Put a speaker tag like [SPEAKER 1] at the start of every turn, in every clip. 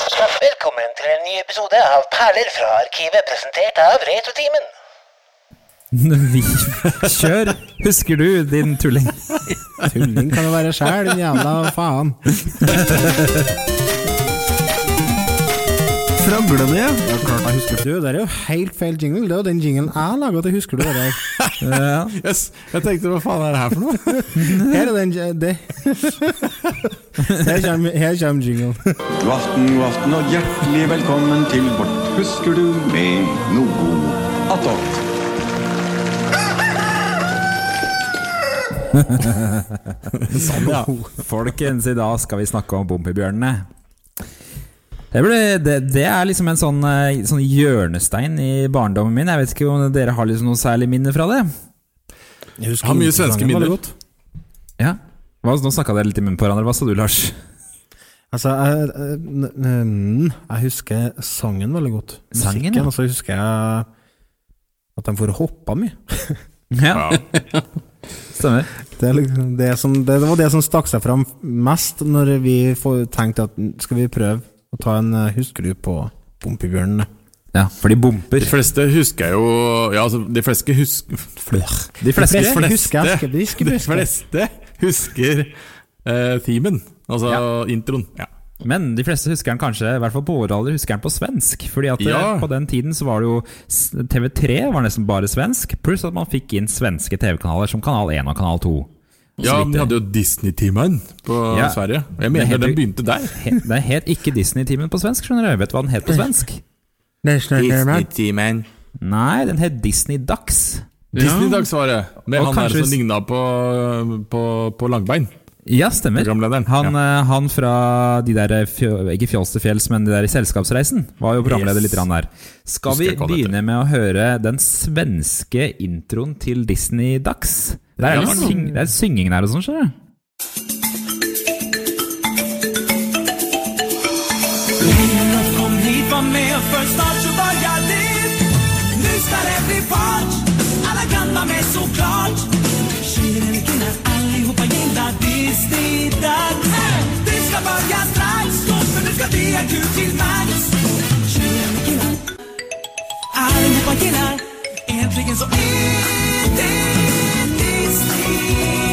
[SPEAKER 1] Velkommen til en ny episode av Perler fra arkivet, presentert av Retrotimen.
[SPEAKER 2] Vi kjør! Husker du, din tulling?
[SPEAKER 3] Tulling kan det være sjæl, din jævla faen.
[SPEAKER 4] Fragler ned.
[SPEAKER 3] Det er klart jeg husker Du, det er jo helt feil jingle. Det er jo den jinglen jeg laga til Husker du det der?
[SPEAKER 2] Ja.
[SPEAKER 4] Yes. Jeg tenkte hva faen er det her for noe?
[SPEAKER 3] Her er den det. Her kommer, her kommer jinglen.
[SPEAKER 5] God aften, god aften og hjertelig velkommen til vårt Husker du med noe attåt.
[SPEAKER 2] Ja. Folkens, i dag skal vi snakke om Bompibjørnene. Det, ble, det, det er liksom en sånn, eh, sånn hjørnestein i barndommen min. Jeg vet ikke om dere har liksom noe særlig minne fra det?
[SPEAKER 4] Jeg har mye svenske minner.
[SPEAKER 2] Ja? Hva, nå snakka dere litt i munnen på hverandre. Hva sa du, Lars?
[SPEAKER 3] Altså, jeg, jeg- mm, jeg husker sangen veldig godt.
[SPEAKER 2] Sangen,
[SPEAKER 3] Musikken,
[SPEAKER 2] ja.
[SPEAKER 3] Og så husker jeg at de får hoppa mye.
[SPEAKER 2] Ja. Stemmer.
[SPEAKER 3] Det, er liksom det, som, det, var det som stakk seg fram mest når vi får- tenkte at mm, skal vi prøve å ta en eh, Husker du på Bompibjørnene?
[SPEAKER 2] Ja, for de bomper.
[SPEAKER 4] De fleste husker jo Ja, altså, de fleste husker
[SPEAKER 2] De fleste.
[SPEAKER 3] De fleste husker- husker- de husker-
[SPEAKER 4] de
[SPEAKER 3] husker.
[SPEAKER 4] fleste husker eh, themen. Altså introen. Ja.
[SPEAKER 2] Men de fleste husker den kanskje, i hvert fall på vår alder, husker den på svensk. Fordi at eh,
[SPEAKER 4] Ja.
[SPEAKER 2] på den tiden så var det jo s- TV3 var nesten bare svensk, pluss at man fikk inn svenske TV-kanaler som Kanal 1 og Kanal 2.
[SPEAKER 4] Ja, men de hadde jo Disney-timen på
[SPEAKER 2] Ja.
[SPEAKER 4] Sverige. Og Jeg
[SPEAKER 2] Det
[SPEAKER 4] mener
[SPEAKER 2] heter-
[SPEAKER 4] den begynte der.
[SPEAKER 2] He, det het ikke Disney-timen på svensk, skjønner du. Vet du hva den het på svensk?
[SPEAKER 4] Disney-timen.
[SPEAKER 2] Nei, den het Disney Ducks.
[SPEAKER 4] Disney-dagsvaret. Med
[SPEAKER 2] Og
[SPEAKER 4] han der
[SPEAKER 2] kanskje
[SPEAKER 4] som
[SPEAKER 2] hvis-
[SPEAKER 4] ligna på, på, på langbein.
[SPEAKER 2] Ja, stemmer.
[SPEAKER 4] Programlederen,
[SPEAKER 2] Han, eh, han fra de der eh, fjø, Ikke Fjols til fjells, men de der i Selskapsreisen var jo programleder
[SPEAKER 4] Yes.
[SPEAKER 2] litt grann der. Skal vi
[SPEAKER 4] Husker ikke hva han
[SPEAKER 2] begynne med å høre den svenske introen til Disney Dags? Det er,
[SPEAKER 4] Ja.
[SPEAKER 2] litt syng, det er synging der og sånn, skjønner du.
[SPEAKER 6] Kom hit, var med, för snart så börjar det Nu ska det bli fart, alla kan vara med såklart Kylenviken är allihopa gillar Disney-dags Det ska börja strax, för nu ska vi ha kul till max Kylenviken är allihopa gillar Äntligen så är det Disney-dags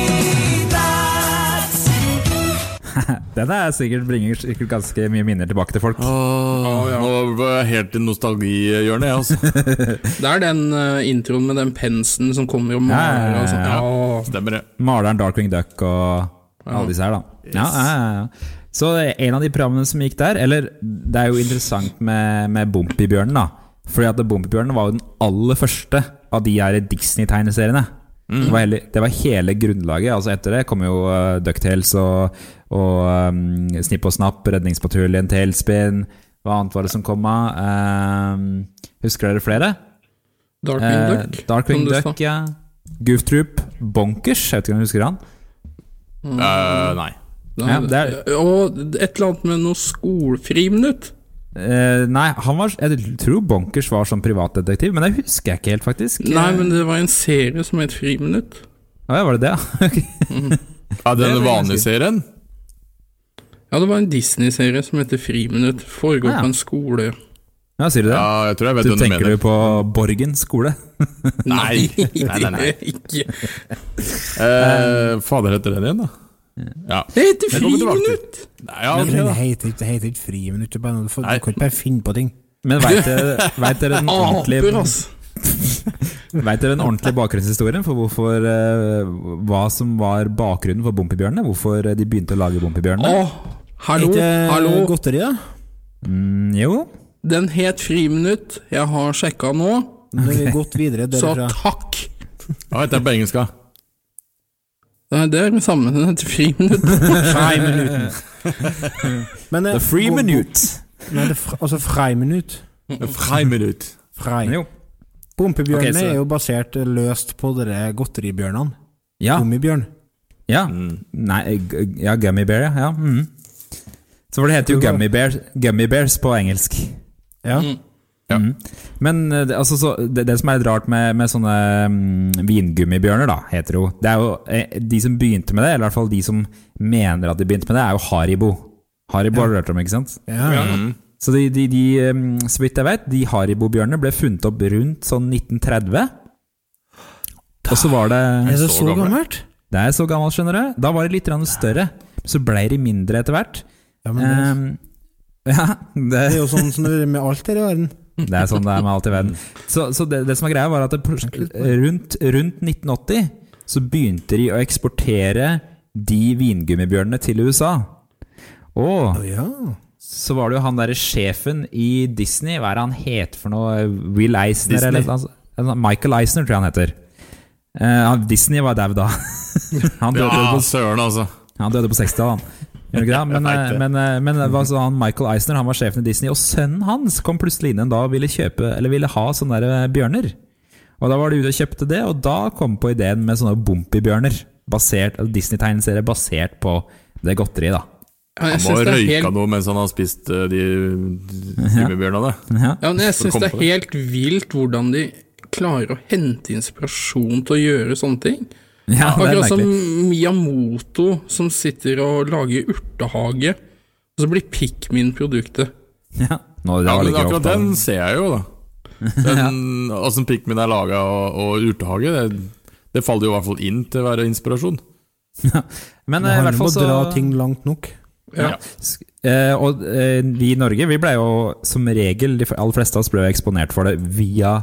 [SPEAKER 2] Den er sikkert bringer sikkert ganske mye minner tilbake til folk.
[SPEAKER 4] Åh, Nå var jeg helt i nostalgihjørnet, jeg, altså.
[SPEAKER 7] Det er den eh, introen med den pensen som kommer og
[SPEAKER 2] Ja, ja,
[SPEAKER 7] maler og sånt.
[SPEAKER 4] ja.
[SPEAKER 7] Ja.
[SPEAKER 4] Stemmer det.
[SPEAKER 2] Maleren Darkwing Duck og alle disse her, da. Ja, ja, ja. Så en av de programmene som gikk der Eller det er jo interessant med, med Bompibjørnen, da. Fordi at Bompibjørnen var jo den aller første av de her Disney-tegneseriene. Det, var hele, det var hele grunnlaget. Altså Etter det kom jo eh, Ducktales og, og eh, Snipp og Snapp, Redningspatruljen, Tailspin Hva annet var det som kom av? Eh, husker dere flere?
[SPEAKER 7] Darkwing
[SPEAKER 2] Eh,
[SPEAKER 7] Duck.
[SPEAKER 2] Darkwing
[SPEAKER 7] som du sa.
[SPEAKER 2] Duck, ja. Goof Troop, Bonkers, jeg vet ikke om du husker han.
[SPEAKER 7] Mm.
[SPEAKER 4] Eh, nei.
[SPEAKER 7] Da-
[SPEAKER 2] ja, det
[SPEAKER 7] eh, Og et eller annet med noe skolefriminutt.
[SPEAKER 2] Eh, nei, han var Jeg tror Bonkers var som privatdetektiv, men det husker jeg ikke helt, faktisk.
[SPEAKER 7] Nei, men det var en serie som het Friminutt.
[SPEAKER 2] Å, ja, var det det, ja? Ok.
[SPEAKER 4] Ja, den
[SPEAKER 2] Det var
[SPEAKER 4] vanlige serien?
[SPEAKER 7] Ja, det var en Disney-serie som heter Friminutt.
[SPEAKER 2] Ah,
[SPEAKER 7] Foregår
[SPEAKER 2] ja.
[SPEAKER 7] på en skole.
[SPEAKER 2] Ja, sier du det?
[SPEAKER 4] Ja, jeg tror jeg vet
[SPEAKER 2] du
[SPEAKER 4] hva du
[SPEAKER 2] tenker
[SPEAKER 4] mener.
[SPEAKER 2] du på Borgen skole?
[SPEAKER 4] Nei. Nei, nei, nei.
[SPEAKER 7] Ikke.
[SPEAKER 4] Eh, fader, heter den igjen, da? Ja.
[SPEAKER 7] Det heter
[SPEAKER 4] Jeg kommer tilbake til-
[SPEAKER 7] Friminutt!
[SPEAKER 4] Nei, ja,
[SPEAKER 3] Men
[SPEAKER 4] ok,
[SPEAKER 3] den
[SPEAKER 4] da.
[SPEAKER 3] heter ikke, det heter ikke Friminutt. Du, bare- du får-
[SPEAKER 4] Nei.
[SPEAKER 3] du kan ikke bare finne på ting.
[SPEAKER 2] Men veit dere, vet dere den
[SPEAKER 7] Aper,
[SPEAKER 2] ordentlige
[SPEAKER 7] ass.
[SPEAKER 2] Vet dere den ordentlige bakgrunnshistorien for hvorfor eh, Hva som var bakgrunnen for Bompibjørnene? Hvorfor eh, de begynte å lage Bompibjørnene?
[SPEAKER 7] Åh, hallo,
[SPEAKER 3] eh,
[SPEAKER 7] hallo.
[SPEAKER 3] godteri, da?
[SPEAKER 2] Mm, jo,
[SPEAKER 7] Den het Friminutt. Jeg har sjekka nå,
[SPEAKER 3] Nå har vi gått videre
[SPEAKER 7] så
[SPEAKER 3] derfra.
[SPEAKER 7] takk.
[SPEAKER 4] Hva heter den på engelsk? da?
[SPEAKER 7] Nei, det er det samme. Den heter Friminutt.
[SPEAKER 3] Men, eh,
[SPEAKER 2] The Free
[SPEAKER 3] gå- gå-
[SPEAKER 2] Minute.
[SPEAKER 3] Nei, det, er fr- altså Freiminutt.
[SPEAKER 4] Freiminutt.
[SPEAKER 3] Frei.
[SPEAKER 2] Jo. Ok,
[SPEAKER 3] Bompebjørnene
[SPEAKER 2] så-
[SPEAKER 3] er jo basert eh, løst på dere godteribjørnene.
[SPEAKER 2] Ja.
[SPEAKER 3] Gummibjørn.
[SPEAKER 2] Ja. Nei, eh, g- g- ja, Gummy Bear, ja. ja. Mm. Så for det heter jo
[SPEAKER 3] Tror du
[SPEAKER 2] Gummy, bear, gummy Bears på engelsk.
[SPEAKER 3] Ja.
[SPEAKER 4] Ja.
[SPEAKER 2] Mm. Men eh, det, altså, så, det, det som er litt rart med, med sånne mm, vingummibjørner, da, heter det jo Det er jo eh, de som begynte med det, eller i hvert fall de som mener at de begynte med det, er jo Haribo. Haribo har du hørt om, ikke sant?
[SPEAKER 3] Ja.
[SPEAKER 2] Så de, de, de um, så vidt jeg vet, de haribobjørnene ble funnet opp rundt sånn 1930. Og så var det
[SPEAKER 3] Er det
[SPEAKER 4] så
[SPEAKER 3] så
[SPEAKER 4] gamle?
[SPEAKER 3] gammelt?
[SPEAKER 2] Det er så gammelt, skjønner du. Da var det litt grann større. Så ble de mindre etter hvert.
[SPEAKER 3] Ja, men det,
[SPEAKER 2] Eh, ja, det,
[SPEAKER 3] det er jo sånn som det er med alt her i verden.
[SPEAKER 2] det er sånn det er med alt i verden. Så, så det, det som er greia, var at det, rundt, rundt 1980 så begynte de å eksportere de vingummibjørnene til USA. Og
[SPEAKER 3] Ja.
[SPEAKER 2] så var det jo han derre sjefen i Disney, hva er det han het for noe? Will Eisner?
[SPEAKER 4] Disney.
[SPEAKER 2] Eller, noe sånt? Eller noe- Michael Eisner, tror jeg han heter. Eh, han- Disney var dau da. han døde jo
[SPEAKER 4] Ja,
[SPEAKER 2] på
[SPEAKER 4] søren, altså.
[SPEAKER 2] han døde på 60-tallet, han. Gjør han ikke det? Men, eh, men, eh, men det var altså han Michael Eisner han var sjefen i Disney, og sønnen hans kom plutselig inn en dag og ville, kjøpe, eller ville ha sånne der eh, bjørner. Og Da var de ute og kjøpte det, og da kom på ideen med sånne Bompibjørner. basert- Disney-tegneserie basert på det godteriet, da.
[SPEAKER 7] Ja,
[SPEAKER 4] Han må
[SPEAKER 7] jeg syns
[SPEAKER 4] ha
[SPEAKER 7] det er
[SPEAKER 4] røyka
[SPEAKER 7] helt
[SPEAKER 4] noe mens han har spist eh, de gummibjørnene.
[SPEAKER 7] Ja, men jeg
[SPEAKER 4] For å
[SPEAKER 7] synes det er
[SPEAKER 4] komme på det.
[SPEAKER 7] helt vilt hvordan de klarer å hente inspirasjon til å gjøre sånne ting.
[SPEAKER 2] Ja, det er
[SPEAKER 7] Akkurat sånn. som
[SPEAKER 2] merkelig.
[SPEAKER 7] Miyamoto som sitter og lager urtehage, og så blir Pikmin produktet.
[SPEAKER 2] Ja. Nå, det
[SPEAKER 4] Ja,
[SPEAKER 2] var
[SPEAKER 4] men
[SPEAKER 2] litt grovt,
[SPEAKER 4] akkurat
[SPEAKER 2] da.
[SPEAKER 4] den ser jeg jo, da. Den, Åssen Pikmin er laga og, og urtehage, det, det faller jo i hvert fall inn til å være inspirasjon.
[SPEAKER 2] Men
[SPEAKER 3] Det
[SPEAKER 2] eh, i hvert
[SPEAKER 3] handler om
[SPEAKER 2] fall
[SPEAKER 3] å
[SPEAKER 2] så
[SPEAKER 3] dra ting langt nok.
[SPEAKER 7] Ja.
[SPEAKER 2] Sk- Eh, og eh, vi i Norge vi ble jo som regel, de f- aller fleste av oss ble jo eksponert for det via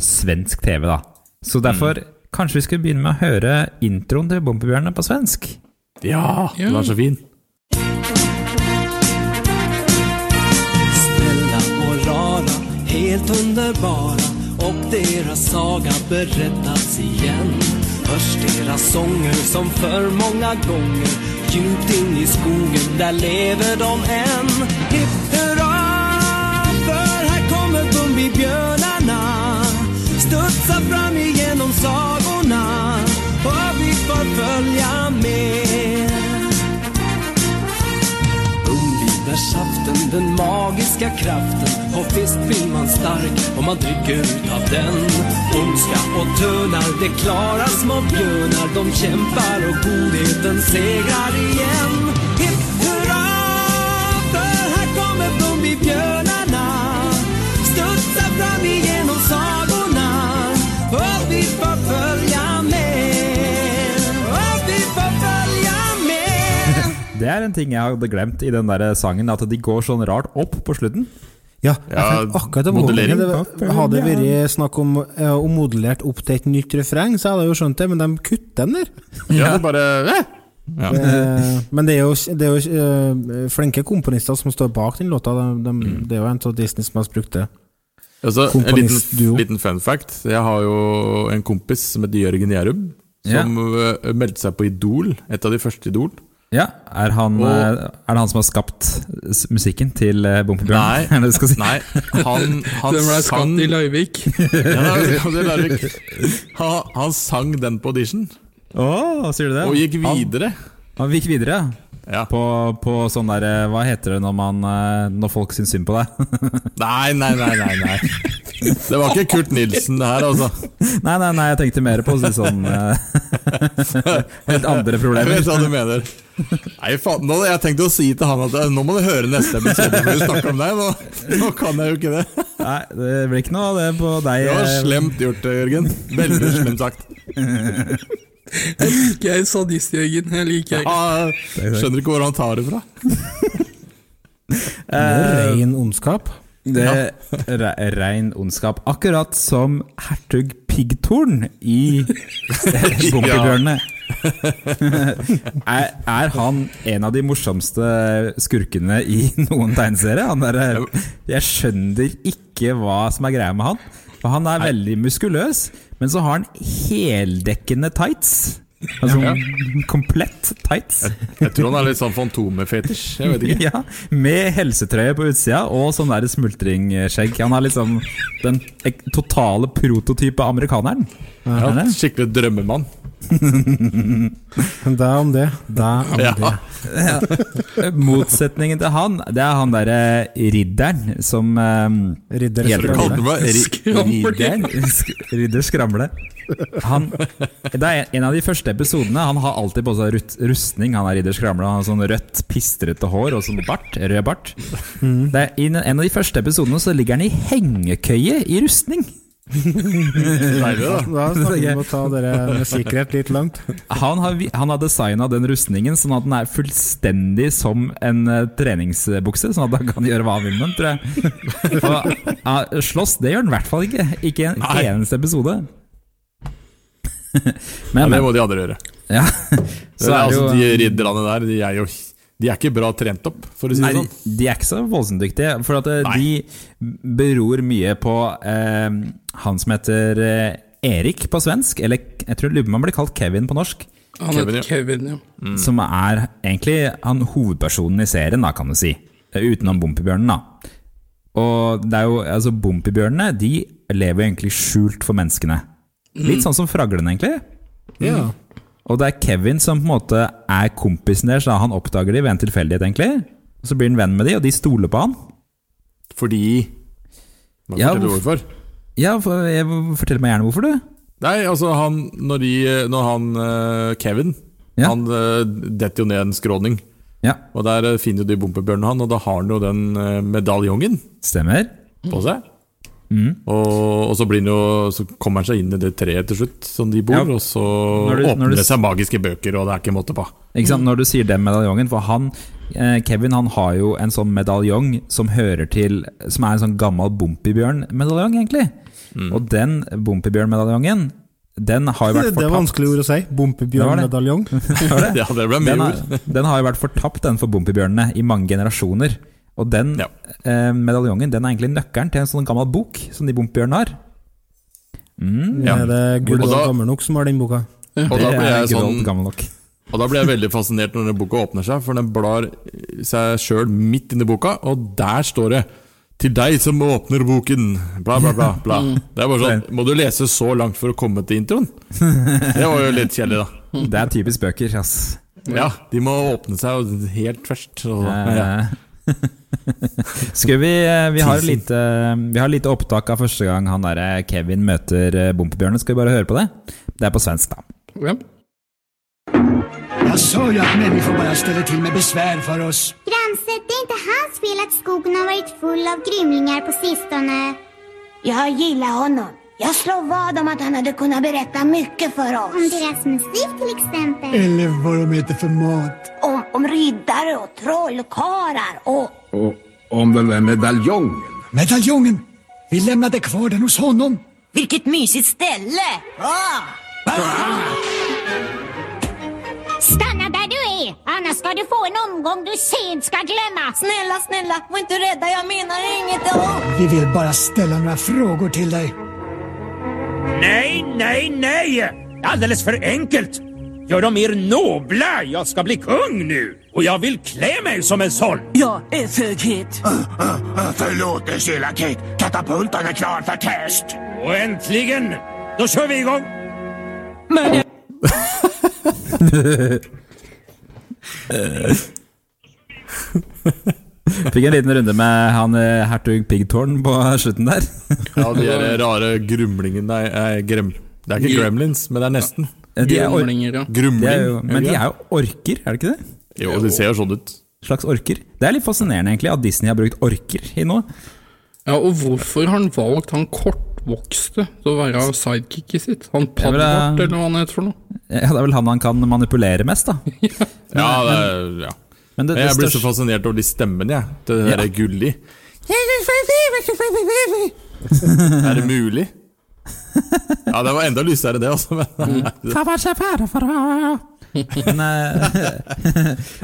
[SPEAKER 2] svensk TV. da
[SPEAKER 4] Mm.
[SPEAKER 2] Så derfor, kanskje vi skulle begynne med å høre introen til Bompebjørnene på svensk?
[SPEAKER 4] Ja, den er så fin.
[SPEAKER 6] Snälla och rara, helt underbara och deras saga berättas igen. Hörs deras sånger som för många gånger djupt in i skogen, där lever de än. Hipp hurra, för här kommer Bumbibjörnarna. Studsa fram igenom sagorna och vi får följa med. Ungvidarsaften, den magiska kraften Och visst blir man stark om man dricker utav den Ondska och tönar, det klarar små björnar De kämpar och godheten segrar igen Hipp hurra, för här kommer Bumbibjörnarna Studsa fram igenom sagorna Och vi får följa med Och vi får följa med
[SPEAKER 2] Det er en ting jeg hadde glemt i den der sangen, at de går sånn rart opp på slutten.
[SPEAKER 3] Ja, jeg
[SPEAKER 4] Ja,
[SPEAKER 3] tenkte akkurat det var
[SPEAKER 4] modellering.
[SPEAKER 3] det var- Hadde det vært snakk om eh, å modellert opp til et nytt refreng, så hadde jeg jo skjønt det, men de kutter den der.
[SPEAKER 4] Ja, det bare eh. ja.
[SPEAKER 3] Eh, Men det er jo, det er jo eh, flinke komponister som står bak den låta. De, de,
[SPEAKER 4] Mm.
[SPEAKER 3] Det er jo en av Disney som har brukt det.
[SPEAKER 4] altså, En
[SPEAKER 3] komponistduo.
[SPEAKER 4] liten, liten fun fact. Jeg har jo en kompis som heter Jørgen Gjærum. Som eh, meldte seg på Idol. Et av de første Idol.
[SPEAKER 2] Ja, er, han,
[SPEAKER 4] Og-
[SPEAKER 2] eh, er det han som har skapt s- musikken til eh,
[SPEAKER 4] Nei,
[SPEAKER 2] Bompebjørnene? Er det det du skal si?
[SPEAKER 4] nei han, han
[SPEAKER 7] Den ble
[SPEAKER 4] sang
[SPEAKER 7] skapt i Larvik.
[SPEAKER 4] Ja, det er- det er Larvik. han, han sang den på audition,
[SPEAKER 2] Åh, sier du det?
[SPEAKER 4] og gikk
[SPEAKER 2] Han,
[SPEAKER 4] videre.
[SPEAKER 2] han gikk videre, ja.
[SPEAKER 4] Ja.
[SPEAKER 2] På, på sånn der eh, Hva heter det når, man, eh, når folk syns synd på deg?
[SPEAKER 4] Nei, nei, nei, nei, nei. Det var ikke Kurt Nilsen, det her, altså.
[SPEAKER 2] Nei, nei, nei, jeg tenkte mer på å si sånn eh, Helt andre
[SPEAKER 4] Jeg
[SPEAKER 2] problemer.
[SPEAKER 4] vet hva du mener. Nei, faen, nå, Jeg tenkte å si til han at eh, nå må du høre neste episode, for vi snakker om deg. Nå, nå kan jeg jo ikke det.
[SPEAKER 2] Nei, Det blir ikke noe av det på deg.
[SPEAKER 4] Det var
[SPEAKER 2] eh,
[SPEAKER 4] slemt gjort, eh, Jørgen. Veldig slemt sagt.
[SPEAKER 7] Jeg er sadist, Jørgen. Jeg liker deg.
[SPEAKER 4] Ah, skjønner ikke hvor han tar det fra.
[SPEAKER 3] Det er ren ondskap.
[SPEAKER 2] Eh. Det er re rein ondskap. Akkurat som hertug Piggtorn i Bumpybjørnene. er, er han en av de morsomste skurkene i noen tegneserie? Han er, jeg skjønner ikke hva som er greia med han. For han er veldig muskuløs, men så har han heldekkende tights. Altså komplett tights.
[SPEAKER 4] Jeg tror han er litt sånn fantomefetisj. Jeg vet ikke.
[SPEAKER 2] Ja, med helsetrøye på utsida og sånn der smultringskjegg. Han er liksom den ek- totale prototype amerikaneren.
[SPEAKER 4] Ja, skikkelig drømmemann.
[SPEAKER 3] Men det er om det. Det er om
[SPEAKER 4] Ja.
[SPEAKER 3] det.
[SPEAKER 2] Eh, Motsetningen til han, det er han derre ridderen som eh,
[SPEAKER 3] Ridder
[SPEAKER 2] Gjelder
[SPEAKER 4] Kalte
[SPEAKER 3] Skramle.
[SPEAKER 4] meg ri-
[SPEAKER 7] Skramler.
[SPEAKER 4] ridderen.
[SPEAKER 2] Ridder Skramle. Han, det er en av de første episodene. Han har alltid på seg rut- rustning. Han er ridder Skramla. Han har sånn rødt, pistrete hår og sånn bart. Rød bart. Det er, I en av de første episodene så ligger han i hengekøye i rustning.
[SPEAKER 4] Deilig, da.
[SPEAKER 3] Da snakker vi om å ta dere med sikkerhet litt langt.
[SPEAKER 2] Han har, vi- han har designa den rustningen sånn at den er fullstendig som en eh, treningsbukse. Sånn at han kan gjøre hva han vil med den, tror jeg. Og, ja, slåss, det gjør han i hvert fall ikke. Ikke i en
[SPEAKER 4] Nei.
[SPEAKER 2] eneste episode. Men,
[SPEAKER 4] Det
[SPEAKER 2] men
[SPEAKER 4] må de andre gjøre.
[SPEAKER 2] ja.
[SPEAKER 4] Så
[SPEAKER 2] det
[SPEAKER 4] altså,
[SPEAKER 2] jo-
[SPEAKER 4] de ridderne der, de er jo de er ikke bra trent opp, for å si det
[SPEAKER 2] Nei,
[SPEAKER 4] sånn.
[SPEAKER 2] de, de er ikke så voldsomt dyktige. For at eh, de beror mye på eh, han som heter eh, Erik på svensk, eller jeg tror lurer på om han blir kalt Kevin på norsk.
[SPEAKER 7] Han
[SPEAKER 4] Kevin,
[SPEAKER 7] heter
[SPEAKER 4] ja.
[SPEAKER 7] Kevin, ja.
[SPEAKER 2] Som er egentlig han hovedpersonen i serien, da, kan du si. Eh, Utenom Bompibjørnen, da. Og det er jo, altså Bompibjørnene de lever jo egentlig skjult for menneskene. Litt sånn som fraglene, egentlig. Mm.
[SPEAKER 3] Ja.
[SPEAKER 2] Og det er Kevin som på en måte er kompisen deres. da Han oppdager de ved en tilfeldighet, egentlig. Og så blir han venn med de, og de stoler på han.
[SPEAKER 4] Fordi Man
[SPEAKER 2] Ja,
[SPEAKER 4] forteller hvorfor.
[SPEAKER 2] Ja, for, jeg, fortell meg gjerne hvorfor, du.
[SPEAKER 4] Nei, altså, han Når, de, når han eh, Kevin
[SPEAKER 2] Ja.
[SPEAKER 4] Han eh, detter jo ned en skråning.
[SPEAKER 2] Ja,
[SPEAKER 4] Og der eh, finner jo de bompebjørnen han, og da har han jo den eh, medaljongen
[SPEAKER 2] stemmer.
[SPEAKER 4] på seg.
[SPEAKER 2] Mm.
[SPEAKER 4] Og, og så, blir han jo, så kommer han seg inn i det treet til slutt, som de bor,
[SPEAKER 2] Ja.
[SPEAKER 4] og så
[SPEAKER 2] Når du- når
[SPEAKER 4] åpner
[SPEAKER 2] du-
[SPEAKER 4] det seg magiske bøker, og det er ikke måte på.
[SPEAKER 2] Ikke sant, Når du sier den medaljongen For han, eh, Kevin han har jo en sånn medaljong som hører til Som er en sånn gammel Bompibjørn-medaljong, egentlig.
[SPEAKER 4] Mm.
[SPEAKER 2] Og den Bompibjørn-medaljongen, den har jo vært
[SPEAKER 3] Det, det er
[SPEAKER 2] fortapt.
[SPEAKER 3] vanskelig ord å si. Bompebjørnmedaljong.
[SPEAKER 2] Hører du?
[SPEAKER 4] Ja, det
[SPEAKER 2] Den
[SPEAKER 4] ble mye
[SPEAKER 2] har,
[SPEAKER 4] ord.
[SPEAKER 2] den har jo vært fortapt, den for Bompibjørnene, i mange generasjoner. Og den
[SPEAKER 4] Ja.
[SPEAKER 2] eh, medaljongen den er egentlig nøkkelen til en sånn gammel bok som de Bompibjørnene har.
[SPEAKER 4] Ja.
[SPEAKER 3] Er det Gud
[SPEAKER 4] Og
[SPEAKER 3] og
[SPEAKER 4] da-
[SPEAKER 3] gammel nok som har den boka?
[SPEAKER 4] Og da
[SPEAKER 2] det
[SPEAKER 4] ble
[SPEAKER 2] er
[SPEAKER 4] jeg
[SPEAKER 2] good old
[SPEAKER 4] sånn
[SPEAKER 2] gammel nok.
[SPEAKER 4] Og da blir jeg veldig fascinert når den boka åpner seg, for den blar seg sjøl midt inni boka, og der står det 'Til deg som åpner boken', bla, bla, bla. bla. Det er bare sånn, Må du lese så langt for å komme til introen? Det var jo litt kjedelig, da.
[SPEAKER 2] Det er typisk bøker, ass.
[SPEAKER 4] Ja, de må åpne seg jo helt først. Og, ja.
[SPEAKER 2] Eh, Skal vi eh, Vi har lite, vi har lite opptak av første gang han der Kevin møter eh, Bompebjørnen. Skal vi bare høre på det? Det er på svensk, da.
[SPEAKER 7] ja.
[SPEAKER 8] Jag sa ju att människor bara ställer till med besvär för oss.
[SPEAKER 9] Granset, det är inte hans fel att skogen har varit full av grymlingar på sistone.
[SPEAKER 10] Jag gillar honom. Jag slår vad om att han hade kunnat berätta mycket för
[SPEAKER 9] Om
[SPEAKER 10] oss.
[SPEAKER 9] deras musik till exempel.
[SPEAKER 8] Eller vad de äter för mat.
[SPEAKER 10] Om, om riddare och trollkarlar och...
[SPEAKER 11] Om den där medaljongen.
[SPEAKER 8] Medaljongen! Vi lämnade kvar den hos honom.
[SPEAKER 10] Vilket mysigt ställe! Ah!
[SPEAKER 9] Stanna där du är, annars ska du få en omgång du sent ska glömma.
[SPEAKER 10] Snälla, snälla, var inte rädda, jag menar inget. Åh!
[SPEAKER 8] Vi vill bara ställa några frågor till dig.
[SPEAKER 11] Nej, nej, nej! Alldeles för enkelt! Gör dem mer nobla! Jag ska bli kung nu! Och jag vill klä mig som en sånn. sån!
[SPEAKER 6] Jag är feghet.
[SPEAKER 11] Förlåt oss, elakhet! Katapulten är klar för test! Och äntligen! Då kör vi igång!
[SPEAKER 2] Fikk en liten runde med han eh, hertug Pigtårn på slutten der.
[SPEAKER 4] ja, de der rare grumlingene Nei, eh, grem. det er ikke gremlins, men det er nesten.
[SPEAKER 2] De er, or
[SPEAKER 7] Grumlinger, ja.
[SPEAKER 4] Grumling.
[SPEAKER 2] de er jo, men de
[SPEAKER 4] ikke det?
[SPEAKER 2] er jo orker, er det ikke det?
[SPEAKER 4] Jo, de ser jo sånn ut.
[SPEAKER 2] Slags orker. Det er litt fascinerende egentlig at Disney har brukt orker i noe.
[SPEAKER 7] ja. Og hvorfor har han valgt han kortvokste til å være sidekicket sitt? Han Padmart,
[SPEAKER 2] det-
[SPEAKER 7] eller hva han heter for noe?
[SPEAKER 2] Eh, Ja, Det er vel han han kan manipulere mest, da.
[SPEAKER 4] Ja, det er, ja.
[SPEAKER 2] Men det, det
[SPEAKER 4] Jeg blir så
[SPEAKER 2] største,
[SPEAKER 4] fascinert over de stemmene, jeg. Det der
[SPEAKER 2] Ja.
[SPEAKER 4] Gulli. Er det mulig? Ja, det var enda lysere, det, altså. Men
[SPEAKER 2] Mm. men, eh,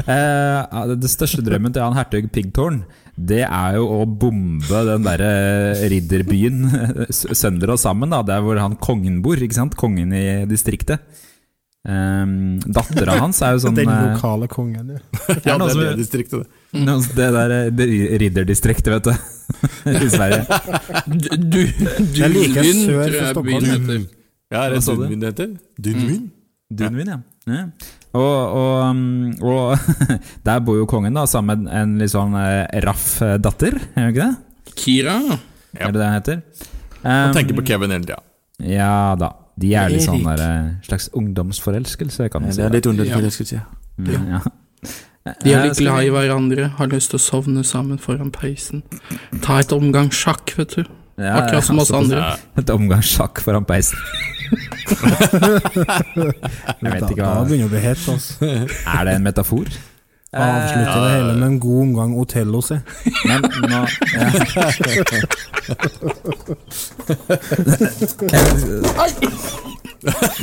[SPEAKER 2] eh, ja, det- det største drømmen til han hertug Pigtårn, det er jo å bombe den derre ridderbyen eh, s- sønder og sammen, da. Der hvor han kongen bor, ikke sant? Kongen i distriktet. Um, Dattera hans er jo sånn
[SPEAKER 3] Den
[SPEAKER 2] eh,
[SPEAKER 3] lokale kongen, ja.
[SPEAKER 4] ja,
[SPEAKER 2] noe
[SPEAKER 4] det
[SPEAKER 2] som-
[SPEAKER 4] er det distriktet, det.
[SPEAKER 2] noe- Det der eh, det ridderdistriktet, vet du. I Sverige.
[SPEAKER 7] Du, du, du,
[SPEAKER 3] Jeg liker
[SPEAKER 7] Lyn,
[SPEAKER 3] sør
[SPEAKER 7] tror
[SPEAKER 3] for
[SPEAKER 7] jeg
[SPEAKER 3] Stockholm.
[SPEAKER 7] byen heter.
[SPEAKER 4] Ja, er det
[SPEAKER 2] Hva sa du? Mm.
[SPEAKER 4] Dunvin det heter? Dunvin?
[SPEAKER 2] Dunvin, ja. ja. Og, og, um, og der bor jo kongen, da, sammen med en litt sånn eh, raff eh, datter, er det ikke det?
[SPEAKER 7] Kira?
[SPEAKER 2] Er det det han heter? Um,
[SPEAKER 4] Tenker på Kevin hele tida.
[SPEAKER 2] Ja da. de er litt
[SPEAKER 4] Erik.
[SPEAKER 2] sånn der, eh, slags ungdomsforelskelse, kan man
[SPEAKER 4] Det
[SPEAKER 2] si.
[SPEAKER 4] er litt
[SPEAKER 2] da.
[SPEAKER 4] ungdomsforelskelse, ja.
[SPEAKER 2] Mm, ja.
[SPEAKER 7] De er
[SPEAKER 2] Eh,
[SPEAKER 7] litt
[SPEAKER 2] skal
[SPEAKER 7] glad
[SPEAKER 2] vi-
[SPEAKER 7] i hverandre, har lyst til å sovne sammen foran peisen. Ta et omgang sjakk, vet du.
[SPEAKER 2] Ja,
[SPEAKER 7] Akkurat som oss
[SPEAKER 2] altså,
[SPEAKER 7] andre.
[SPEAKER 2] Et omgangssjakk foran peisen. jeg vet ikke
[SPEAKER 3] Da- da begynner det å bli
[SPEAKER 2] hva
[SPEAKER 3] hett, altså.
[SPEAKER 2] Er det en metafor? Eh,
[SPEAKER 3] Avslutte det hele med en god omgang Otello, si.
[SPEAKER 2] Men nå eh, ja.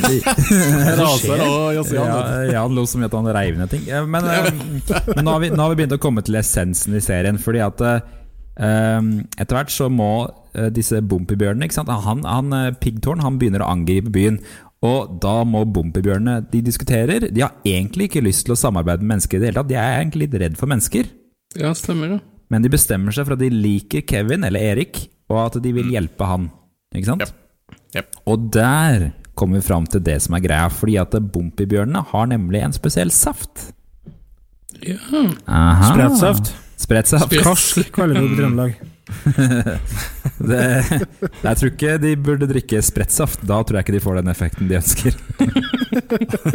[SPEAKER 4] Raser og Jasian,
[SPEAKER 2] Ja,
[SPEAKER 4] vet du.
[SPEAKER 2] Jan lo som at han reiv ned ting. Eh, Men, eh, men nå, har vi, nå har vi begynt å komme til essensen i serien. Fordi at eh, etter hvert så må eh, disse Bompibjørnene ikke sant? Han, han eh, Piggtårn han begynner å angripe byen. Og da må Bompibjørnene De diskuterer. De har egentlig ikke lyst til å samarbeide med mennesker i det hele tatt. De er egentlig litt redd for mennesker.
[SPEAKER 7] Ja, stemmer det.
[SPEAKER 2] Men de bestemmer seg for at de liker Kevin eller Erik, og at de vil hjelpe han. Ikke sant? Og der kommer vi fram til det som er greia, fordi at Bompibjørnene har nemlig en spesiell saft.
[SPEAKER 7] Ja.
[SPEAKER 2] Aha.
[SPEAKER 3] Spretsaft.
[SPEAKER 2] Spretsaft.
[SPEAKER 3] Kars, kaller vi det på Trøndelag.
[SPEAKER 2] det, jeg tror ikke de burde drikke spretsaft. Da tror jeg ikke de får den effekten de ønsker.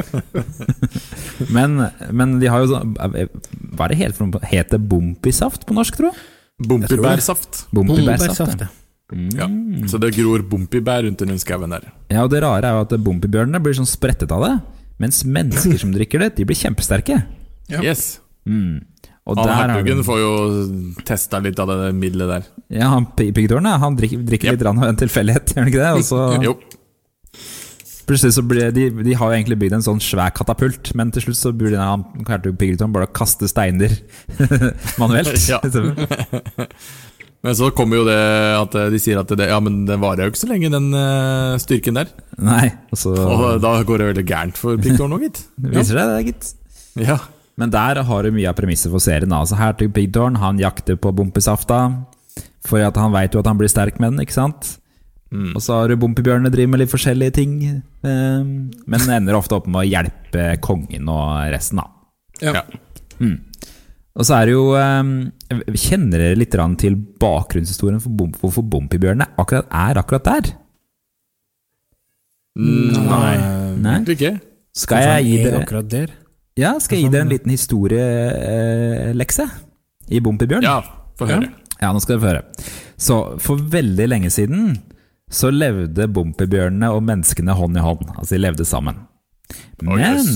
[SPEAKER 2] men, men de har jo sånn Hva er det helt for noe? Heter det bompisaft på norsk, tro?
[SPEAKER 4] Bompibærsaft.
[SPEAKER 2] Bompibærsaft, ja.
[SPEAKER 4] Ja.
[SPEAKER 2] Mm.
[SPEAKER 4] Så det gror bompibær rundt i den skauen der.
[SPEAKER 2] Ja, og det rare er jo at bompibjørnene blir sånn sprettet av det, mens mennesker som drikker det, de blir kjempesterke.
[SPEAKER 4] Yes.
[SPEAKER 2] Mm. Og
[SPEAKER 4] han
[SPEAKER 2] der har
[SPEAKER 4] hertugen
[SPEAKER 2] du-
[SPEAKER 4] får jo testa litt av det middelet der.
[SPEAKER 2] Ja, han pi- piggtårnet, han drikker, drikker litt rann av en tilfeldighet, gjør han ikke det? Og så
[SPEAKER 4] Jo.
[SPEAKER 2] Plutselig så blir de, de har jo egentlig bygd en sånn svær katapult, men til slutt så burde han hertug piggtårn bare kaste steiner manuelt.
[SPEAKER 4] Ja. Men så kommer jo det at eh, de sier at det, ja, men den varer jo ikke så lenge, den eh, styrken der.
[SPEAKER 2] Nei, og så
[SPEAKER 4] Og da går det veldig gærent for Piktor nå, gitt.
[SPEAKER 2] Det viser seg det, gitt.
[SPEAKER 4] Ja.
[SPEAKER 2] Men der har du mye av premisset for serien. da. Altså, Hertug Pigdorn han jakter på bompesafta, for at han veit jo at han blir sterk med den, ikke sant? Og så har du bompebjørnene driver med litt forskjellige ting, eh, men ender ofte opp med å hjelpe kongen og resten, da.
[SPEAKER 7] Ja.
[SPEAKER 2] Mm. Og så er det jo eh, Kjenner dere litt grann til bakgrunnshistorien for bom- hvorfor bompebjørnene akkurat er akkurat der?
[SPEAKER 4] Nei.
[SPEAKER 2] Nei?
[SPEAKER 4] Egentlig ikke.
[SPEAKER 2] Skal jeg gi
[SPEAKER 3] Kanskje han er
[SPEAKER 2] dere
[SPEAKER 3] akkurat der?
[SPEAKER 2] Ja, skal jeg gi dere en liten historielekse i Bompibjørn?
[SPEAKER 4] Ja, få høre.
[SPEAKER 2] Ja, nå skal dere få høre. Så for veldig lenge siden så levde Bompibjørnene og menneskene hånd i hånd. Altså, de levde sammen.
[SPEAKER 4] Å,
[SPEAKER 2] Men
[SPEAKER 4] jøss.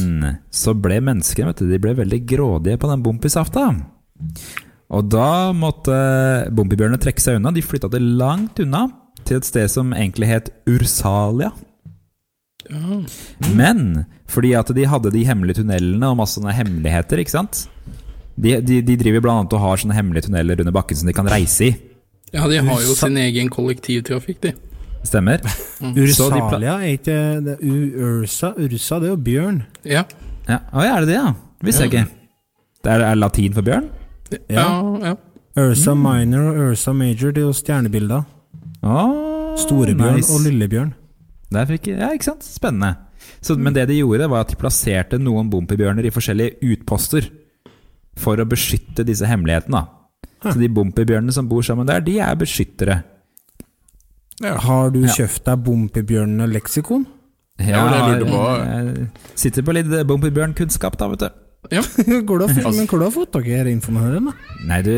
[SPEAKER 2] så ble menneskene vet du, de ble veldig grådige på den bompisafta. Og da måtte bompibjørnene trekke seg unna. De flytta det langt unna, til et sted som egentlig het Ursalia. Men fordi at de hadde de hemmelige tunnelene og masse sånne hemmeligheter, ikke sant? De, de, de driver blant annet og har sånne hemmelige tunneler under bakken som de kan reise i.
[SPEAKER 7] Ja, de har jo sin egen kollektivtrafikk, de.
[SPEAKER 2] Stemmer? Mm.
[SPEAKER 4] Mm.
[SPEAKER 2] Så de pla-
[SPEAKER 3] Ursalia er ikke det er U- Ursa, Ursa, det er jo bjørn.
[SPEAKER 7] Ja.
[SPEAKER 2] Ja. Å, ja, er det det, ja? Visste jeg ikke. Det er, er latin for bjørn?
[SPEAKER 7] Ja, ja.
[SPEAKER 3] Ursa
[SPEAKER 2] Mm.
[SPEAKER 3] minor og Ursa major, det er jo stjernebilder.
[SPEAKER 2] Oh,
[SPEAKER 3] Storebjørn og lillebjørn.
[SPEAKER 2] Der fikk, ja, ikke sant? Spennende. Så, men det de gjorde, var at de plasserte noen bompibjørner i forskjellige utposter for å beskytte disse hemmelighetene. Da. Så de bompibjørnene som bor sammen der, de er beskyttere.
[SPEAKER 3] Har du kjøpt deg Bompibjørn-leksikon?
[SPEAKER 4] Ja, det jeg lurte på.
[SPEAKER 2] jeg Sitter på litt bompibjørnkunnskap, da, vet du.
[SPEAKER 3] Hvor har du
[SPEAKER 2] Altså-
[SPEAKER 3] men hvor har du fått tak i denne informasjonen? da?
[SPEAKER 2] Nei, du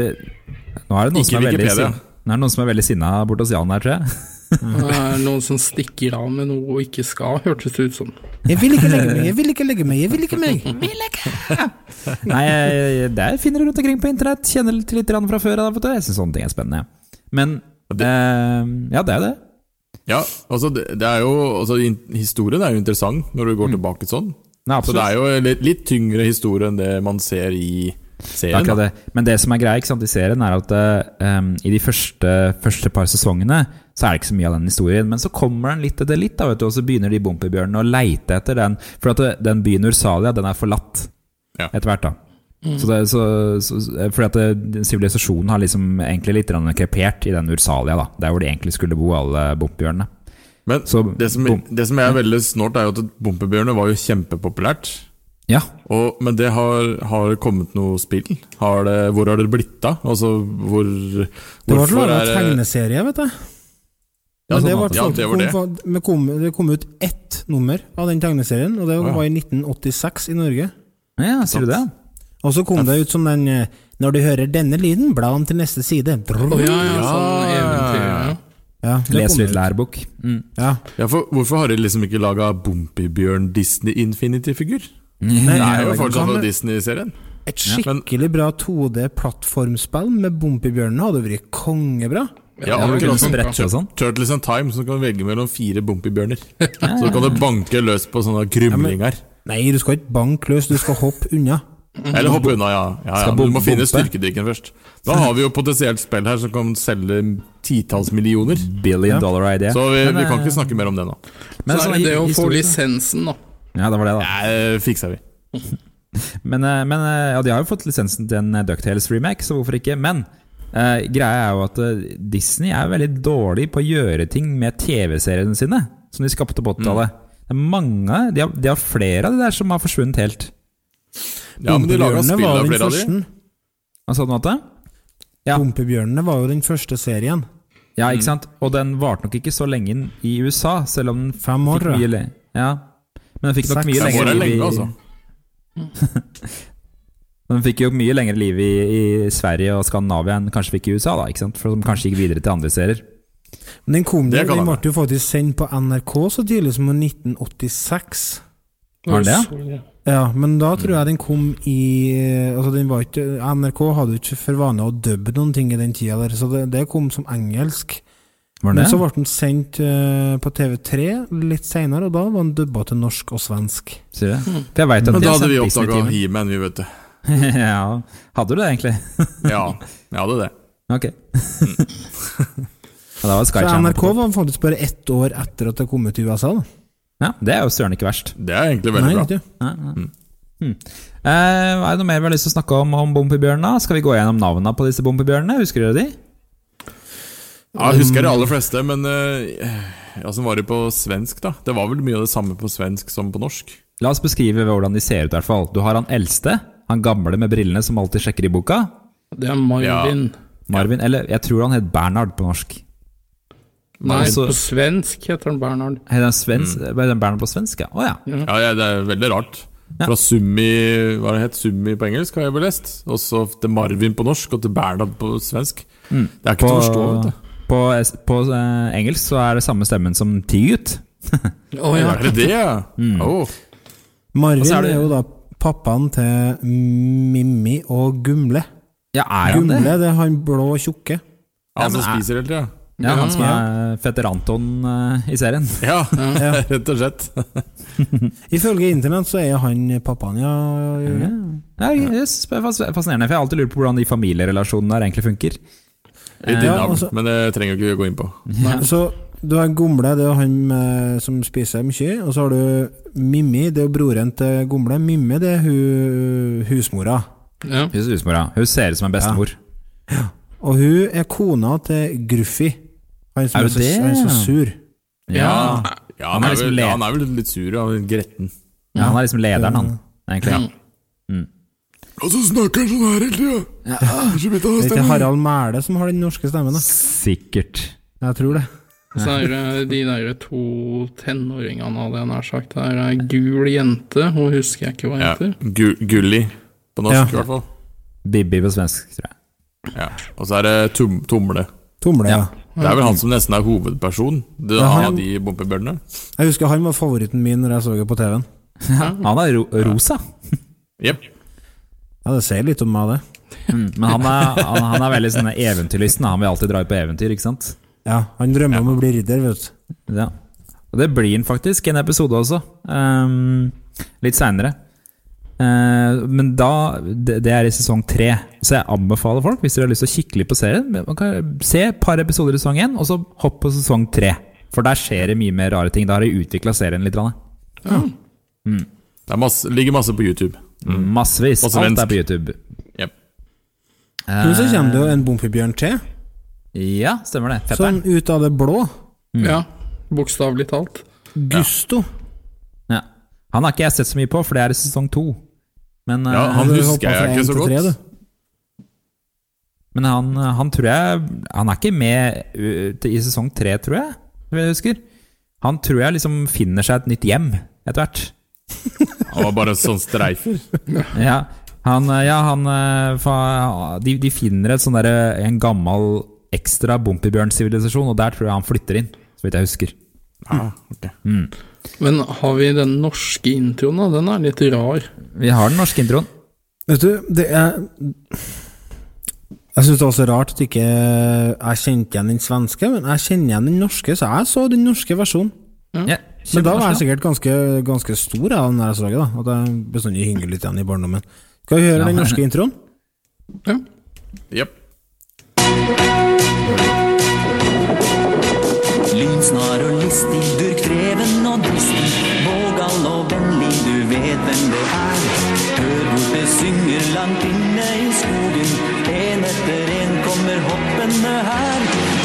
[SPEAKER 2] Nå er det noen
[SPEAKER 4] Ikke
[SPEAKER 2] som er veldig
[SPEAKER 4] Wikipedia.
[SPEAKER 2] sin- Nå er det noen som er veldig sinna borte hos Jan her, tror jeg.
[SPEAKER 7] Det er noen som stikker av med noe og ikke skal, hørtes det ut som.
[SPEAKER 3] Jeg vil ikke legge meg, jeg vil ikke legge meg, jeg vil ikke meg!
[SPEAKER 2] Nei, jeg- der finner du rundt omkring på internett. Kjenner litt- litt grann fra før av, vet du. Jeg syns sånne ting er spennende. Men eh, Ja, det er jo det.
[SPEAKER 4] Ja, altså det, det er jo altså, in- Historien er jo interessant når du går
[SPEAKER 2] Mm.
[SPEAKER 4] tilbake sånn.
[SPEAKER 2] Nei,
[SPEAKER 4] Så det
[SPEAKER 2] absolutt.
[SPEAKER 4] er jo litt, litt tyngre historie enn det man ser i
[SPEAKER 2] Det er
[SPEAKER 4] serien.
[SPEAKER 2] akkurat
[SPEAKER 4] da.
[SPEAKER 2] det. Men det som er greia ikke sant, i serien, er at eh, i de første, første par sesongene så er det ikke så mye av den historien. Men så kommer den litt etter litt, da, vet du, og så begynner de bompebjørnene å leite etter den. For at det- den byen Ursalia, den er forlatt
[SPEAKER 4] Ja.
[SPEAKER 2] etter hvert, da. Så det, er- så, så, eh, fordi at det- den sivilisasjonen har liksom egentlig litt grann krepert i den Ursalia, da. Der hvor de egentlig skulle bo, alle bompebjørnene.
[SPEAKER 4] Men
[SPEAKER 2] Så-
[SPEAKER 4] det, som,
[SPEAKER 2] bom-
[SPEAKER 4] det som er veldig snålt, er jo at Bompebjørnet var jo kjempepopulært.
[SPEAKER 2] Ja.
[SPEAKER 4] Og, men det har, har det kommet noe spill? Har det, hvor har det blitt av? Altså, hvor
[SPEAKER 3] Det var til å
[SPEAKER 4] hvorfor
[SPEAKER 3] være
[SPEAKER 4] er det-
[SPEAKER 3] tegneserie, vet du.
[SPEAKER 4] Ja,
[SPEAKER 3] Men det,
[SPEAKER 4] sånn
[SPEAKER 3] var,
[SPEAKER 4] at- ja, det var det.
[SPEAKER 3] Kom, men kom, det kom ut ett nummer av den tegneserien, og det
[SPEAKER 4] Å, ja.
[SPEAKER 3] var i 1986 i Norge.
[SPEAKER 2] Ja, sier du det?
[SPEAKER 3] Og så kom det ut som den eh, 'Når du hører denne lyden, bla om til neste side'. Brrr.
[SPEAKER 7] ja, ja, sånn eventyr, ja.
[SPEAKER 3] Ja, det
[SPEAKER 2] Les
[SPEAKER 3] kom
[SPEAKER 2] litt
[SPEAKER 3] ut.
[SPEAKER 2] lærebok. Mm.
[SPEAKER 3] Ja.
[SPEAKER 4] Ja, for Hvorfor har de liksom ikke laga Bompibjørn Disney Infinity-figur?
[SPEAKER 2] Nei,
[SPEAKER 4] Det er sånn. jo
[SPEAKER 3] det
[SPEAKER 4] fortsatt
[SPEAKER 3] kan-
[SPEAKER 4] fra Disney-serien.
[SPEAKER 3] Et
[SPEAKER 4] men-
[SPEAKER 3] skikkelig bra 2D-plattformspill med Bompibjørnen hadde vært kongebra.
[SPEAKER 4] Ja,
[SPEAKER 2] Ja,
[SPEAKER 4] og
[SPEAKER 2] det
[SPEAKER 4] kunne
[SPEAKER 2] kunne
[SPEAKER 4] sånn
[SPEAKER 2] sprette og sånn.
[SPEAKER 4] Turtles in Time, som kan velge mellom fire Bompibjørner. Så kan du banke løs på sånne krumlinger.
[SPEAKER 3] Nei, du skal ikke banke løs, du skal hoppe unna.
[SPEAKER 2] Mhm.
[SPEAKER 4] Eller hoppe unna, ja. ja, ja.
[SPEAKER 2] Skal
[SPEAKER 4] men Du må
[SPEAKER 2] bom-
[SPEAKER 4] finne
[SPEAKER 2] bompe.
[SPEAKER 4] styrkedrikken først. Da har vi jo potensielt spill her som kan selge titalls millioner.
[SPEAKER 2] sånn. Billion dollar idea.
[SPEAKER 4] Så vi,
[SPEAKER 2] Men,
[SPEAKER 4] vi kan
[SPEAKER 2] eh,
[SPEAKER 4] ikke snakke mer om det nå.
[SPEAKER 2] men
[SPEAKER 7] Så er
[SPEAKER 2] sånn
[SPEAKER 7] det det å få
[SPEAKER 2] historie-
[SPEAKER 7] lisensen, da.
[SPEAKER 2] Ja, det var det, da.
[SPEAKER 4] Nei, fikser vi.
[SPEAKER 2] Men, eh, men eh, ja, de har jo fått lisensen til en eh, DuckTales-remake, så hvorfor ikke? Men eh, greia er jo at eh, Disney er veldig dårlig på å gjøre ting med TV-seriene sine, som de skapte på
[SPEAKER 3] Mm.
[SPEAKER 2] 80-tallet. Det er mange, de har, de har flere av de der som har forsvunnet helt.
[SPEAKER 4] Ja, men de laga
[SPEAKER 3] Bompebjørnene
[SPEAKER 4] spill
[SPEAKER 3] var
[SPEAKER 4] av
[SPEAKER 3] den
[SPEAKER 4] flere av de.
[SPEAKER 3] første.
[SPEAKER 2] Hva sa du, Natte? Ja.
[SPEAKER 3] Bompebjørnene var jo den første serien.
[SPEAKER 2] Ja,
[SPEAKER 3] Mm.
[SPEAKER 2] ikke sant? Og den varte nok ikke så lenge inn i USA, selv om den
[SPEAKER 3] Fem år,
[SPEAKER 2] fikk
[SPEAKER 3] tror jeg.
[SPEAKER 2] mye le Ja, men den fikk nok
[SPEAKER 3] Seks.
[SPEAKER 2] mye
[SPEAKER 4] Det
[SPEAKER 3] Fem
[SPEAKER 2] lengre
[SPEAKER 4] var
[SPEAKER 2] liv
[SPEAKER 4] lenge,
[SPEAKER 2] i-
[SPEAKER 4] altså.
[SPEAKER 2] Den fikk jo mye lengre liv i, i Sverige og Skandinavia enn kanskje fikk i USA, da, ikke sant? For de kanskje gikk videre til andre serier.
[SPEAKER 3] Men den kom jo,
[SPEAKER 4] Det kan
[SPEAKER 3] den
[SPEAKER 4] være.
[SPEAKER 3] ble jo faktisk sendt på NRK så tidlig som i 1986.
[SPEAKER 2] Var det det?
[SPEAKER 3] Ja, men da tror jeg den kom i Altså, den var ikke NRK hadde jo ikke for vane å dubbe noen ting i den tida der, så det, det kom som engelsk.
[SPEAKER 2] Var det?
[SPEAKER 3] Men så ble den sendt eh, på TV3 litt seinere, og da var den dubba til norsk og svensk.
[SPEAKER 2] Sier du? det? For jeg vet at
[SPEAKER 4] Men
[SPEAKER 2] de
[SPEAKER 4] da
[SPEAKER 2] har
[SPEAKER 4] hadde vi
[SPEAKER 2] sendt
[SPEAKER 4] oppdaga
[SPEAKER 2] Disney-timen.
[SPEAKER 4] He-Man, vi, vet du.
[SPEAKER 2] ja, hadde du det egentlig?
[SPEAKER 4] Ja, jeg hadde det.
[SPEAKER 2] ok. ja, da var Sky
[SPEAKER 3] Så
[SPEAKER 2] Channel
[SPEAKER 3] NRK
[SPEAKER 2] på topp.
[SPEAKER 3] var faktisk bare ett år etter at det kom ut i USA, da.
[SPEAKER 2] Ja, det er jo søren ikke verst.
[SPEAKER 4] Det er egentlig veldig bra.
[SPEAKER 3] vet du.
[SPEAKER 2] Eh, er det noe mer vi har lyst til å snakke om om Bompibjørnene? Skal vi gå gjennom navnene på disse Bompibjørnene? Husker dere de?
[SPEAKER 4] Ja, jeg husker de aller fleste, men eh, ja, som var det på svensk, da? Det var vel mye av det samme på svensk som på norsk?
[SPEAKER 2] La oss beskrive hvordan de ser ut. i hvert fall Du har han eldste, han gamle med brillene som alltid sjekker i boka.
[SPEAKER 7] Det er Marvin.
[SPEAKER 2] Marvin, eller jeg tror han het Bernhard på norsk.
[SPEAKER 7] Nei,
[SPEAKER 2] Altså-
[SPEAKER 7] på svensk heter han Bernhard.
[SPEAKER 2] Heter han svensk?
[SPEAKER 4] Mm.
[SPEAKER 2] Er det Bernhard på svensk, ja? Å ja.
[SPEAKER 4] Ja, ja det er veldig rart. Fra Summi Hva det het Summi på engelsk, har jeg vel lest. Og så til Marvin på norsk, og til Bernhard på svensk. Det er ikke til å forstå, vet du.
[SPEAKER 2] på, på eh, engelsk så er det samme stemmen som Tigut.
[SPEAKER 7] Å ja.
[SPEAKER 4] Er det det, ja? Åh.
[SPEAKER 3] Marvin
[SPEAKER 2] Og så er
[SPEAKER 3] er,
[SPEAKER 2] det-
[SPEAKER 3] jo da pappaen til Mimmi og Gumle.
[SPEAKER 2] Ja, er han det?
[SPEAKER 3] Gumle det er han blå og tjukke.
[SPEAKER 4] Han
[SPEAKER 2] men
[SPEAKER 4] som
[SPEAKER 2] er-
[SPEAKER 4] spiser hele tida?
[SPEAKER 2] Ja, han som er fetter Anton eh, i serien.
[SPEAKER 4] Ja, rett og slett.
[SPEAKER 3] Ifølge internett så er han pappaen, ja. ja.
[SPEAKER 2] Ja, det er fas- fascinerende, for jeg har alltid lurt på hvordan de familierelasjonene der egentlig funker.
[SPEAKER 4] Litt
[SPEAKER 3] Ja,
[SPEAKER 4] innavl,
[SPEAKER 3] altså-
[SPEAKER 4] men det trenger vi ikke gå inn på.
[SPEAKER 3] Så du har Gumle, det er han med, som spiser mye. Og så har du Mimmi, det er jo broren til Gumle. Mimmi, det er hun husmora.
[SPEAKER 7] ja.
[SPEAKER 2] Hun ser ut som mora. Hun ser ut som en bestemor.
[SPEAKER 3] Og hun er kona til Gruffy. Han som
[SPEAKER 2] Er
[SPEAKER 3] er,
[SPEAKER 2] hun
[SPEAKER 3] så,
[SPEAKER 2] det?
[SPEAKER 3] han er så sur.
[SPEAKER 2] Ja.
[SPEAKER 4] Ja,
[SPEAKER 2] Han
[SPEAKER 4] han
[SPEAKER 2] er
[SPEAKER 4] er
[SPEAKER 2] liksom
[SPEAKER 4] vel,
[SPEAKER 2] le-
[SPEAKER 4] ja, han er vel litt sur ja, litt gretten.
[SPEAKER 2] Ja, han er liksom lederen, han. Egentlig.
[SPEAKER 4] Og så snakker han sånn her hele tida!
[SPEAKER 3] Det er ikke Harald Mæle som har den norske stemmen, da.
[SPEAKER 2] Sikkert.
[SPEAKER 3] Jeg tror det.
[SPEAKER 7] Så er det de der to tenåringene, hadde jeg nær sagt. Det er ei gul jente, hun husker jeg ikke hva
[SPEAKER 4] Ja.
[SPEAKER 7] heter.
[SPEAKER 4] Gu- Gulli på norsk,
[SPEAKER 3] Ja.
[SPEAKER 4] i hvert fall.
[SPEAKER 2] Bibi på svensk, tror jeg.
[SPEAKER 4] Ja. Og så er det tum Tumle.
[SPEAKER 3] Tumle, ja.
[SPEAKER 4] Det er vel han som nesten er hovedperson det,
[SPEAKER 3] Ja,
[SPEAKER 4] av
[SPEAKER 3] han-
[SPEAKER 4] de bompebjørnene.
[SPEAKER 3] Jeg husker han var favoritten min når jeg så det på TV-en.
[SPEAKER 2] Han er ro rosa,
[SPEAKER 4] Jep.
[SPEAKER 3] Ja, det sier litt om meg, det.
[SPEAKER 2] men han er, han, han er veldig sånn eventyrlysten. Han vil alltid dra ut på eventyr, ikke sant?
[SPEAKER 3] Ja, Han drømmer om å bli ridder, vet du.
[SPEAKER 2] Ja. Og det blir han faktisk, en episode også. Ehm, litt seinere. men da det, det er i sesong tre, så jeg anbefaler folk, hvis dere har lyst til å kikke litt på serien men man kan Se et par episoder i sesong én, og så hopp på sesong tre. For der skjer det mye mer rare ting. Da har de utvikla serien litt. grann.
[SPEAKER 4] Det er masse, ligger masse på YouTube.
[SPEAKER 2] Massevis.
[SPEAKER 4] Og svensk.
[SPEAKER 2] Alt er på YouTube.
[SPEAKER 4] Jep.
[SPEAKER 3] Men så kommer det jo en bompebjørn til,
[SPEAKER 2] Ja, stemmer det. Fetteren.
[SPEAKER 3] sånn ut av det blå.
[SPEAKER 7] Ja, bokstavelig talt.
[SPEAKER 3] Gusto.
[SPEAKER 2] Ja. Han har ikke jeg sett så mye på, for det er i sesong to. Men,
[SPEAKER 4] Ja,
[SPEAKER 2] eh,
[SPEAKER 4] han
[SPEAKER 3] du
[SPEAKER 4] husker
[SPEAKER 3] hoppa
[SPEAKER 4] jeg
[SPEAKER 3] fra
[SPEAKER 4] ikke
[SPEAKER 3] en
[SPEAKER 4] så
[SPEAKER 3] til
[SPEAKER 4] godt.
[SPEAKER 3] tre, du.
[SPEAKER 2] men han, han tror jeg Han er ikke med uh, til- i sesong tre, tror jeg. som jeg husker. Han tror jeg liksom finner seg et nytt hjem etter hvert.
[SPEAKER 4] Han var bare sånn streifer.
[SPEAKER 2] Ja, han, eh, ja, han eh, fa- de, de finner et sånn derre- en gammel ekstra Bompibjørn-sivilisasjon, og der tror jeg han flytter inn, så vidt jeg husker. Mm.
[SPEAKER 7] Men har vi den norske introen, da? Den er litt rar.
[SPEAKER 2] Vi har den norske introen.
[SPEAKER 3] Vet du, det er Jeg syns det er også rart at ikke jeg kjente igjen den svenske, men jeg kjenner igjen den norske, så jeg så den norske versjonen.
[SPEAKER 2] Ja,
[SPEAKER 3] men da var jeg
[SPEAKER 2] kjempenorsk,
[SPEAKER 3] sikkert ganske, ganske stor jeg, av den her slaget, da. At jeg bestandig hynger litt igjen i barndommen. Skal vi
[SPEAKER 2] Ja.
[SPEAKER 3] høre den norske introen?
[SPEAKER 4] Jepp.
[SPEAKER 6] Lynsnar og listig, durkdreven og dristig, vågal og vennlig, du vet hvem det er. Hør hvor det synger langt inne i skogen, en etter en kommer hoppende her.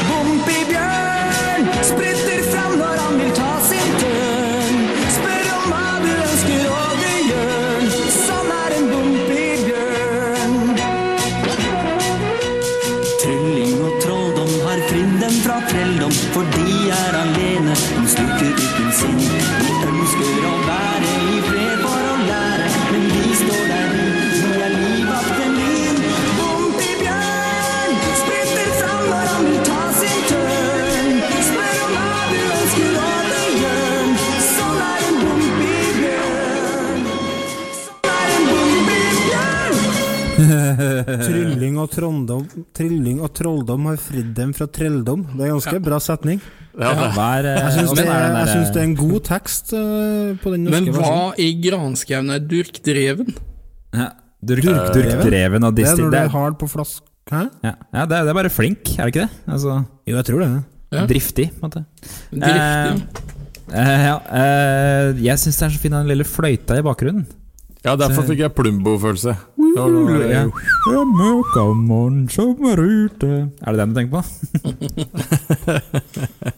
[SPEAKER 6] Bompibjørn spretter fram når han vil ta sin tørn. Spør om hva du ønsker, og det gjør han. Sånn er en bompibjørn. Trylling og trolldom har fridd dem fra trelldom, for de er alene, de slutter uten sinn. De ønsker å være i fred for å lære, men de står der de, de er livvakten din. Bompibjørn spretter fram når han vil ta sin tørn. Spør om hva du ønsker, og det gjør han. Sånn er en bompibjørn. Sånn er en bompibjørn.
[SPEAKER 3] Trylling og, trolldom, trylling og trolldom har fridd dem fra trelldom. Det er ganske bra setning.
[SPEAKER 2] Ja, det er-
[SPEAKER 3] jeg syns det,
[SPEAKER 2] Åssen er den
[SPEAKER 3] er- jeg
[SPEAKER 2] der-
[SPEAKER 3] syns det er en god tekst eh, på den norske
[SPEAKER 7] Men
[SPEAKER 3] versjonen.
[SPEAKER 7] hva i granskauen er durkdreven?
[SPEAKER 2] eh, Ja. Durk, durkdreven og
[SPEAKER 3] Det er
[SPEAKER 2] distil.
[SPEAKER 3] når du
[SPEAKER 2] Det
[SPEAKER 3] er
[SPEAKER 2] er,
[SPEAKER 3] hard på flask... Hæ?
[SPEAKER 2] ja, ja, det, er, det er bare flink, er det ikke det? Altså,
[SPEAKER 3] Jo, jeg tror det.
[SPEAKER 7] Ja.
[SPEAKER 2] Driftig, på en måte.
[SPEAKER 7] Driftig.
[SPEAKER 2] Eh, eh, ja, eh, jeg syns det er så fin den lille fløyta i bakgrunnen.
[SPEAKER 4] Ja, derfor fikk jeg Plumbo-følelse. Det var noe-
[SPEAKER 2] Ja. Møkkamann som er ute Er det den du tenker på?